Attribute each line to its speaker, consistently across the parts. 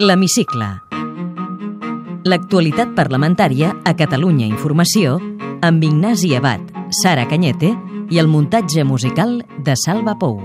Speaker 1: L'Hemicicle. L'actualitat parlamentària a Catalunya Informació amb Ignasi Abad, Sara Canyete i el muntatge musical de Salva Pou.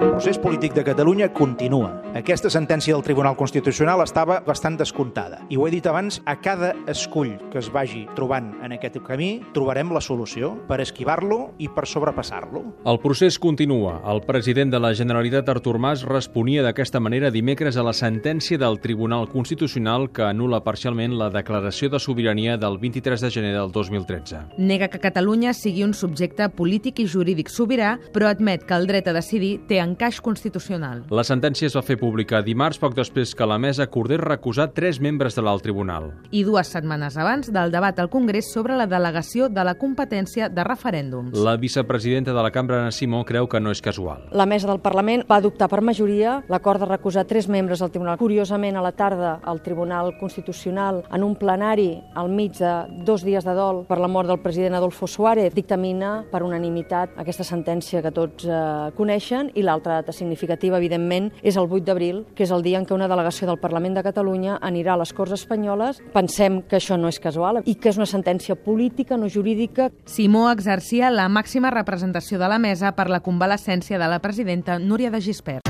Speaker 2: El procés polític de Catalunya continua. Aquesta sentència del Tribunal Constitucional estava bastant descomptada. I ho he dit abans, a cada escull que es vagi trobant en aquest camí, trobarem la solució per esquivar-lo i per sobrepassar-lo.
Speaker 3: El procés continua. El president de la Generalitat, Artur Mas, responia d'aquesta manera dimecres a la sentència del Tribunal Constitucional que anula parcialment la declaració de sobirania del 23 de gener del 2013.
Speaker 4: Nega que Catalunya sigui un subjecte polític i jurídic sobirà, però admet que el dret a decidir té encaix constitucional.
Speaker 3: La sentència es va fer pública dimarts poc després que la mesa acordés recusar tres membres de l'alt tribunal.
Speaker 4: I dues setmanes abans del debat al Congrés sobre la delegació de la competència de referèndums.
Speaker 3: La vicepresidenta de la cambra, Ana Simó, creu que no és casual.
Speaker 5: La mesa del Parlament va adoptar per majoria l'acord de recusar tres membres del Tribunal. Curiosament, a la tarda, el Tribunal Constitucional, en un plenari al mig de dos dies de dol per la mort del president Adolfo Suárez, dictamina per unanimitat aquesta sentència que tots eh, coneixen i l'altra data significativa, evidentment, és el 8 d'abril, que és el dia en què una delegació del Parlament de Catalunya anirà a les Corts Espanyoles. Pensem que això no és casual i que és una sentència política, no jurídica.
Speaker 4: Simó exercia la màxima representació de la mesa per la convalescència de la presidenta Núria de Gispert.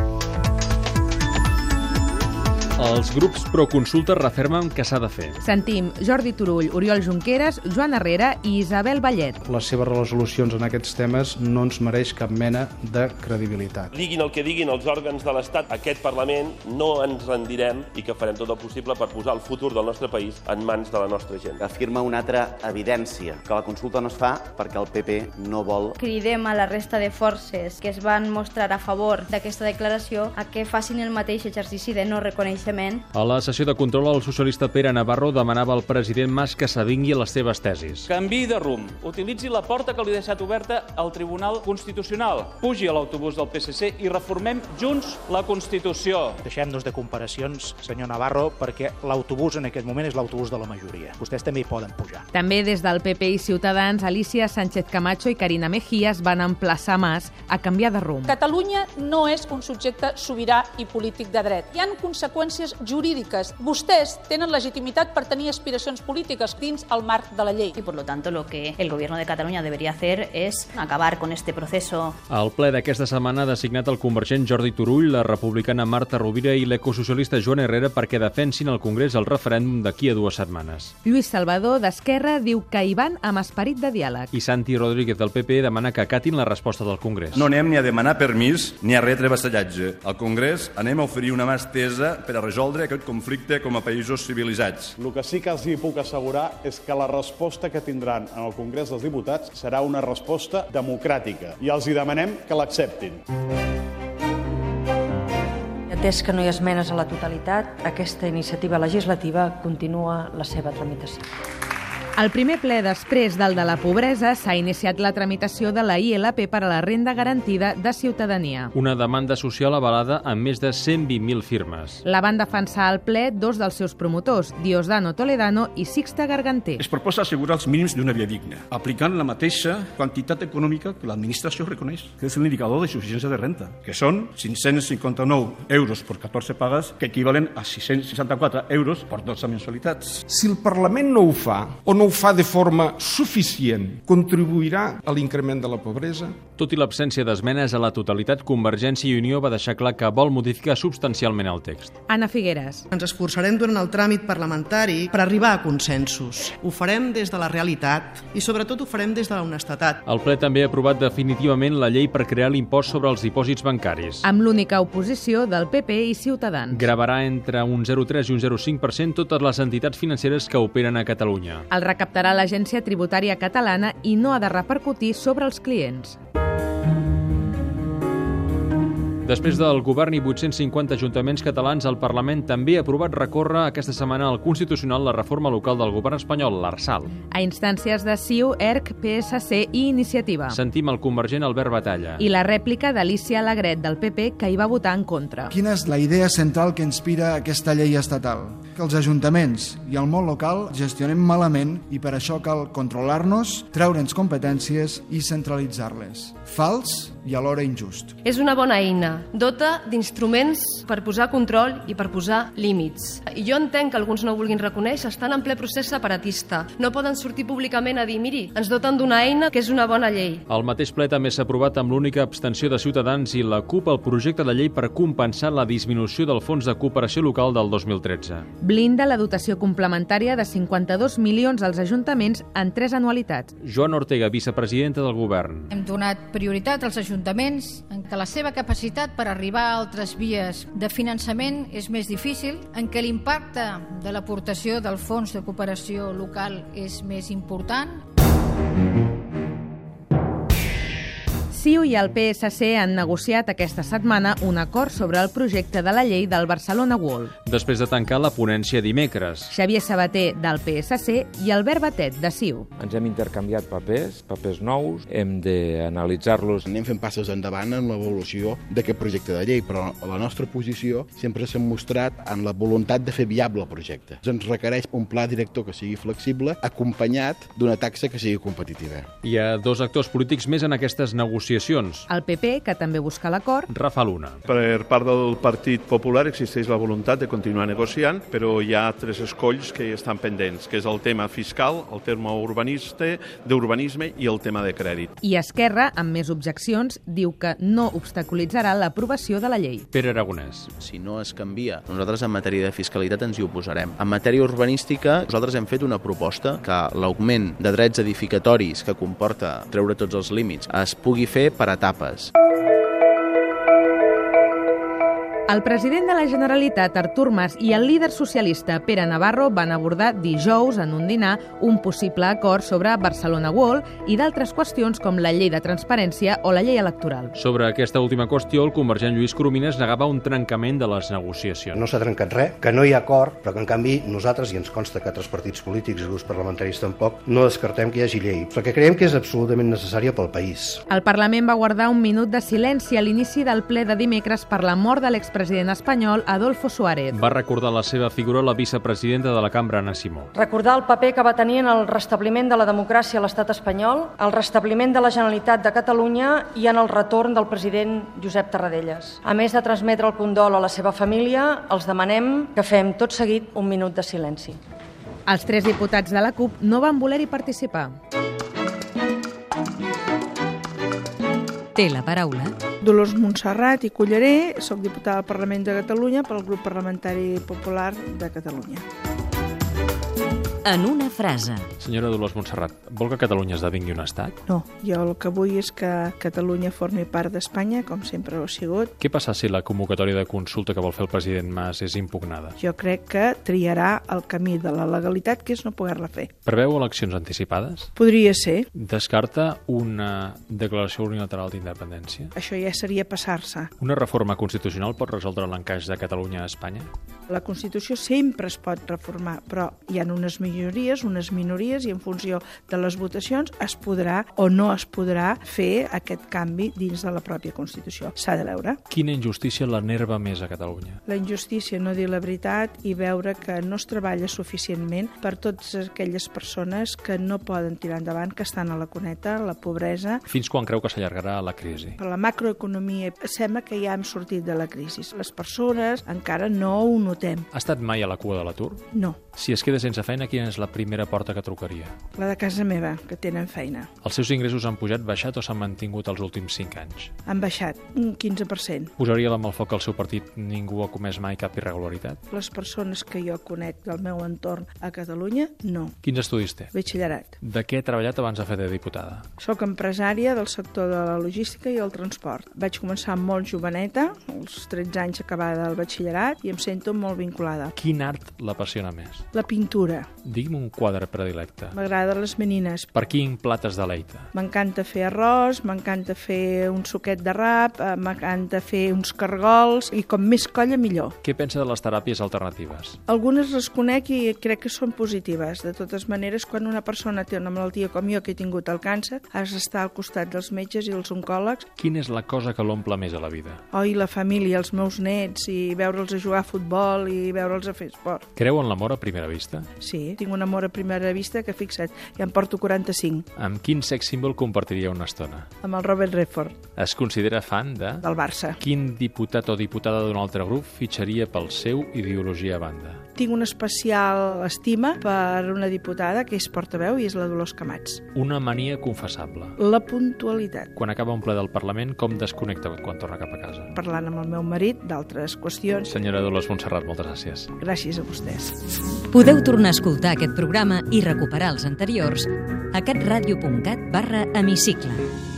Speaker 3: Els grups proconsulta refermen que s'ha de fer.
Speaker 4: Sentim Jordi Turull, Oriol Junqueras, Joan Herrera i Isabel Vallet.
Speaker 6: les seves resolucions en aquests temes no ens mereix cap mena de credibilitat.
Speaker 7: Diguin el que diguin els òrgans de l'Estat, aquest Parlament no ens rendirem i que farem tot el possible per posar el futur del nostre país en mans de la nostra gent.
Speaker 8: afirma una altra evidència, que la consulta no es fa perquè el PP no vol
Speaker 9: Cridem a la resta de forces que es van mostrar a favor d'aquesta declaració a que facin el mateix exercici de no reconeixement.
Speaker 3: A la sessió de control, el socialista Pere Navarro demanava al president Mas que s'avingui a les seves tesis.
Speaker 10: Canvi de rumb. Utilitzi la porta que li ha deixat oberta al Tribunal Constitucional. Pugi a l'autobús del PSC i reformem junts la Constitució.
Speaker 2: Deixem-nos de comparacions, senyor Navarro, perquè l'autobús en aquest moment és l'autobús de la majoria. Vostès també hi poden pujar.
Speaker 4: També des del PP i Ciutadans, Alicia Sánchez Camacho i Carina Mejías van emplaçar Mas a canviar de rumb.
Speaker 11: Catalunya no és un subjecte sobirà i polític de dret. Hi han conseqüències jurídiques. Vostès tenen legitimitat per tenir aspiracions polítiques dins el marc de la llei.
Speaker 9: Y por lo tanto lo que el gobierno de Cataluña debería hacer es acabar con este proceso
Speaker 3: Al ple d'aquesta setmana ha designat el convergent Jordi Turull, la republicana Marta Rovira i l'ecosocialista Joan Herrera perquè defensin al Congrés el referèndum d'aquí a dues setmanes.
Speaker 4: Lluís Salvador, d'Esquerra, diu que hi van amb esperit de diàleg.
Speaker 3: I Santi Rodríguez del PP demana que acatin la resposta del Congrés.
Speaker 12: No anem ni a demanar permís ni a retre vassallatge. Al Congrés anem a oferir una mà estesa per a resoldre aquest conflicte com a països civilitzats.
Speaker 10: El que sí que els hi puc assegurar és que la resposta que tindran en el Congrés dels Diputats serà una resposta democràtica i els hi demanem que l'acceptin.
Speaker 5: Atès que no hi ha esmenes a la totalitat, aquesta iniciativa legislativa continua la seva tramitació.
Speaker 4: Al primer ple després del de la pobresa s'ha iniciat la tramitació de la ILP per a la renda garantida de ciutadania.
Speaker 3: Una demanda social avalada amb més de 120.000 firmes.
Speaker 4: La van defensar al ple dos dels seus promotors, Diosdano Toledano i Sixte Garganté.
Speaker 12: Es proposa assegurar els mínims d'una via digna, aplicant la mateixa quantitat econòmica que l'administració reconeix, que és l'indicador de suficiència de renta, que són 559 euros per 14 pagues, que equivalen a 664 euros per 12 mensualitats.
Speaker 6: Si el Parlament no ho fa, o no ho fa de forma suficient, contribuirà a l'increment de la pobresa?
Speaker 3: Tot i l'absència d'esmenes a la totalitat, Convergència i Unió va deixar clar que vol modificar substancialment el text.
Speaker 4: Anna Figueres.
Speaker 11: Ens esforçarem durant el tràmit parlamentari per arribar a consensos. Ho farem des de la realitat i sobretot ho farem des de l'honestetat.
Speaker 3: El ple també ha aprovat definitivament la llei per crear l'impost sobre els dipòsits bancaris.
Speaker 4: Amb l'única oposició del PP i Ciutadans.
Speaker 3: Gravarà entre un 0,3 i un 0,5% totes les entitats financeres que operen a Catalunya.
Speaker 4: El recaptarà l'Agència Tributària Catalana i no ha de repercutir sobre els clients.
Speaker 3: Després del govern i 850 ajuntaments catalans, el Parlament també ha aprovat recórrer aquesta setmana al Constitucional la reforma local del govern espanyol, l'Arsal.
Speaker 4: A instàncies de CiU, ERC, PSC i Iniciativa.
Speaker 3: Sentim el convergent Albert Batalla.
Speaker 4: I la rèplica d'Alicia Alegret, del PP, que hi va votar en contra.
Speaker 6: Quina és la idea central que inspira aquesta llei estatal?
Speaker 13: que els ajuntaments i el món local gestionem malament i per això cal controlar-nos, treure'ns competències i centralitzar-les. Fals i alhora injust.
Speaker 14: És una bona eina. Dota d'instruments per posar control i per posar límits. I jo entenc que alguns no ho vulguin reconèixer, estan en ple procés separatista. No poden sortir públicament a dir, miri, ens doten d'una eina que és una bona llei.
Speaker 3: El mateix ple també s'ha aprovat amb l'única abstenció de Ciutadans i la CUP el projecte de llei per compensar la disminució del Fons de Cooperació Local del 2013.
Speaker 15: Blinda la dotació complementària de 52 milions als ajuntaments en tres anualitats.
Speaker 3: Joan Ortega, vicepresidenta del govern.
Speaker 16: Hem donat prioritat als ajuntaments en què la seva capacitat per arribar a altres vies de finançament és més difícil, en què l'impacte de l'aportació del Fons de Cooperació Local és més important.
Speaker 15: CiU i el PSC han negociat aquesta setmana un acord sobre el projecte de la llei del Barcelona World.
Speaker 3: Després de tancar la ponència dimecres,
Speaker 15: Xavier Sabater, del PSC, i Albert Batet, de CiU.
Speaker 2: Ens hem intercanviat papers, papers nous, hem d'analitzar-los.
Speaker 12: Anem fent passos endavant en l'evolució d'aquest projecte de llei, però la nostra posició sempre s'ha mostrat en la voluntat de fer viable el projecte. Ens requereix un pla director que sigui flexible, acompanyat d'una taxa que sigui competitiva.
Speaker 3: hi ha dos actors polítics més en aquestes negociacions.
Speaker 15: El PP, que també busca l'acord,
Speaker 3: Rafa Luna.
Speaker 7: Per part del Partit Popular existeix la voluntat de continuar negociant, però hi ha tres escolls que estan pendents, que és el tema fiscal, el tema urbanista, d'urbanisme i el tema de crèdit.
Speaker 15: i Esquerra, amb més objeccions, diu que no obstaculitzarà l'aprovació de la llei.
Speaker 3: Pere Aragonès.
Speaker 17: Si no es canvia, nosaltres en matèria de fiscalitat ens hi oposarem. En matèria urbanística, nosaltres hem fet una proposta que l'augment de drets edificatoris que comporta treure tots els límits es pugui fer per etapes.
Speaker 15: El president de la Generalitat, Artur Mas, i el líder socialista, Pere Navarro, van abordar dijous en un dinar un possible acord sobre Barcelona World i d'altres qüestions com la llei de transparència o la llei electoral.
Speaker 3: Sobre aquesta última qüestió, el convergent Lluís Coromines negava un trencament de les negociacions.
Speaker 18: No s'ha trencat res, que no hi ha acord, però que en canvi nosaltres, i ens consta que altres partits polítics i grups parlamentaris tampoc, no descartem que hi hagi llei, perquè creiem que és absolutament necessària pel país.
Speaker 15: El Parlament va guardar un minut de silenci a l'inici del ple de dimecres per la mort de l'expresident espanyol Adolfo Suárez.
Speaker 3: Va recordar la seva figura la vicepresidenta de la cambra, Ana Simó.
Speaker 5: Recordar el paper que va tenir en el restabliment de la democràcia a l'estat espanyol, el restabliment de la Generalitat de Catalunya i en el retorn del president Josep Tarradellas. A més de transmetre el condol a la seva família, els demanem que fem tot seguit un minut de silenci.
Speaker 15: Els tres diputats de la CUP no van voler-hi participar.
Speaker 1: Té la paraula
Speaker 4: Dolors Montserrat i Culleré, soc diputada al Parlament de Catalunya pel grup parlamentari popular de Catalunya.
Speaker 1: en una frase.
Speaker 3: Senyora Dolors Montserrat, vol que Catalunya esdevingui un estat?
Speaker 4: No, jo el que vull és que Catalunya formi part d'Espanya, com sempre ho ha sigut.
Speaker 3: Què passa si la convocatòria de consulta que vol fer el president Mas és impugnada?
Speaker 4: Jo crec que triarà el camí de la legalitat, que és no poder-la fer.
Speaker 3: Preveu eleccions anticipades?
Speaker 4: Podria ser,
Speaker 3: Descarta una declaració unilateral d'independència?
Speaker 4: això ja seria passar-se.
Speaker 3: Una reforma constitucional pot resoldre l'encaix de Catalunya a Espanya?
Speaker 4: La Constitució sempre es pot reformar, però hi ha unes majories, unes minories, i en funció de les votacions es podrà o no es podrà fer aquest canvi dins de la pròpia Constitució. S'ha de veure.
Speaker 3: Quina injustícia l'enerva més a Catalunya?
Speaker 4: La injustícia, no dir la veritat, i veure que no es treballa suficientment per totes aquelles persones que no poden tirar endavant, que estan a la cuneta, a la pobresa,
Speaker 3: Fins quan creu que s'allargarà la crisi?
Speaker 4: Per la macroeconomia sembla que ja hem sortit de la crisi. Les persones encara no ho notem.
Speaker 3: Ha estat mai a la cua de l'atur?
Speaker 4: No,
Speaker 3: Si es queda sense feina, quina és la primera porta que trucaria?
Speaker 4: la de casa meva, que tenen feina.
Speaker 3: Els seus ingressos han pujat, baixat o s'han mantingut els últims 5 anys?
Speaker 4: Han baixat un 15%.
Speaker 3: Posaria la mà al foc al seu partit ningú ha comès mai cap irregularitat?
Speaker 4: Les persones que jo conec del meu entorn a Catalunya, no.
Speaker 3: Quins estudis té?
Speaker 4: Batxillerat.
Speaker 3: De què ha treballat abans de fer de diputada?
Speaker 4: Soc empresària del sector de la logística i el transport. Vaig començar molt joveneta, als 13 anys acabada el batxillerat, i em sento molt vinculada.
Speaker 3: Quin art l'apassiona més?
Speaker 4: La pintura.
Speaker 3: Digui'm un quadre predilecte.
Speaker 4: M'agraden les menines.
Speaker 3: Per quin plat es deleita?
Speaker 4: M'encanta fer arròs, m'encanta fer un suquet de rap, eh, m'encanta fer uns cargols, i com més colla, millor.
Speaker 3: Què pensa de les teràpies alternatives?
Speaker 4: Algunes les conec i crec que són positives. De totes maneres, quan una persona té una malaltia com jo, que he tingut el càncer, has d'estar al costat dels metges i els oncòlegs,
Speaker 3: Quina és la cosa que l'omple més a la vida?
Speaker 4: oi, la família, els meus nets, i veure'ls a jugar a futbol, futbol i veure els afers esports.
Speaker 3: Creu en l'amor a primera vista?
Speaker 4: Sí, tinc un amor a primera vista que, fixa't, ja en porto 45,
Speaker 3: Amb quin sex símbol compartiria una estona?
Speaker 4: amb el Robert Redford,
Speaker 3: Es considera fan de...
Speaker 4: del Barça.
Speaker 3: Quin diputat o diputada d'un altre grup fitxaria pel seu ideologia a banda?
Speaker 4: Tinc una especial estima per una diputada que és portaveu i és la Dolors Camats.
Speaker 3: Una mania confessable.
Speaker 4: La puntualitat.
Speaker 3: Quan acaba un ple del Parlament, com desconnecta quan torna cap a casa?
Speaker 4: Parlant amb el meu marit d'altres qüestions.
Speaker 3: Senyora Dolors Montserrat, moltes gràcies.
Speaker 4: Gràcies a vostès.
Speaker 1: Podeu tornar a escoltar aquest programa i recuperar els anteriors a catradio.cat barra hemicicle.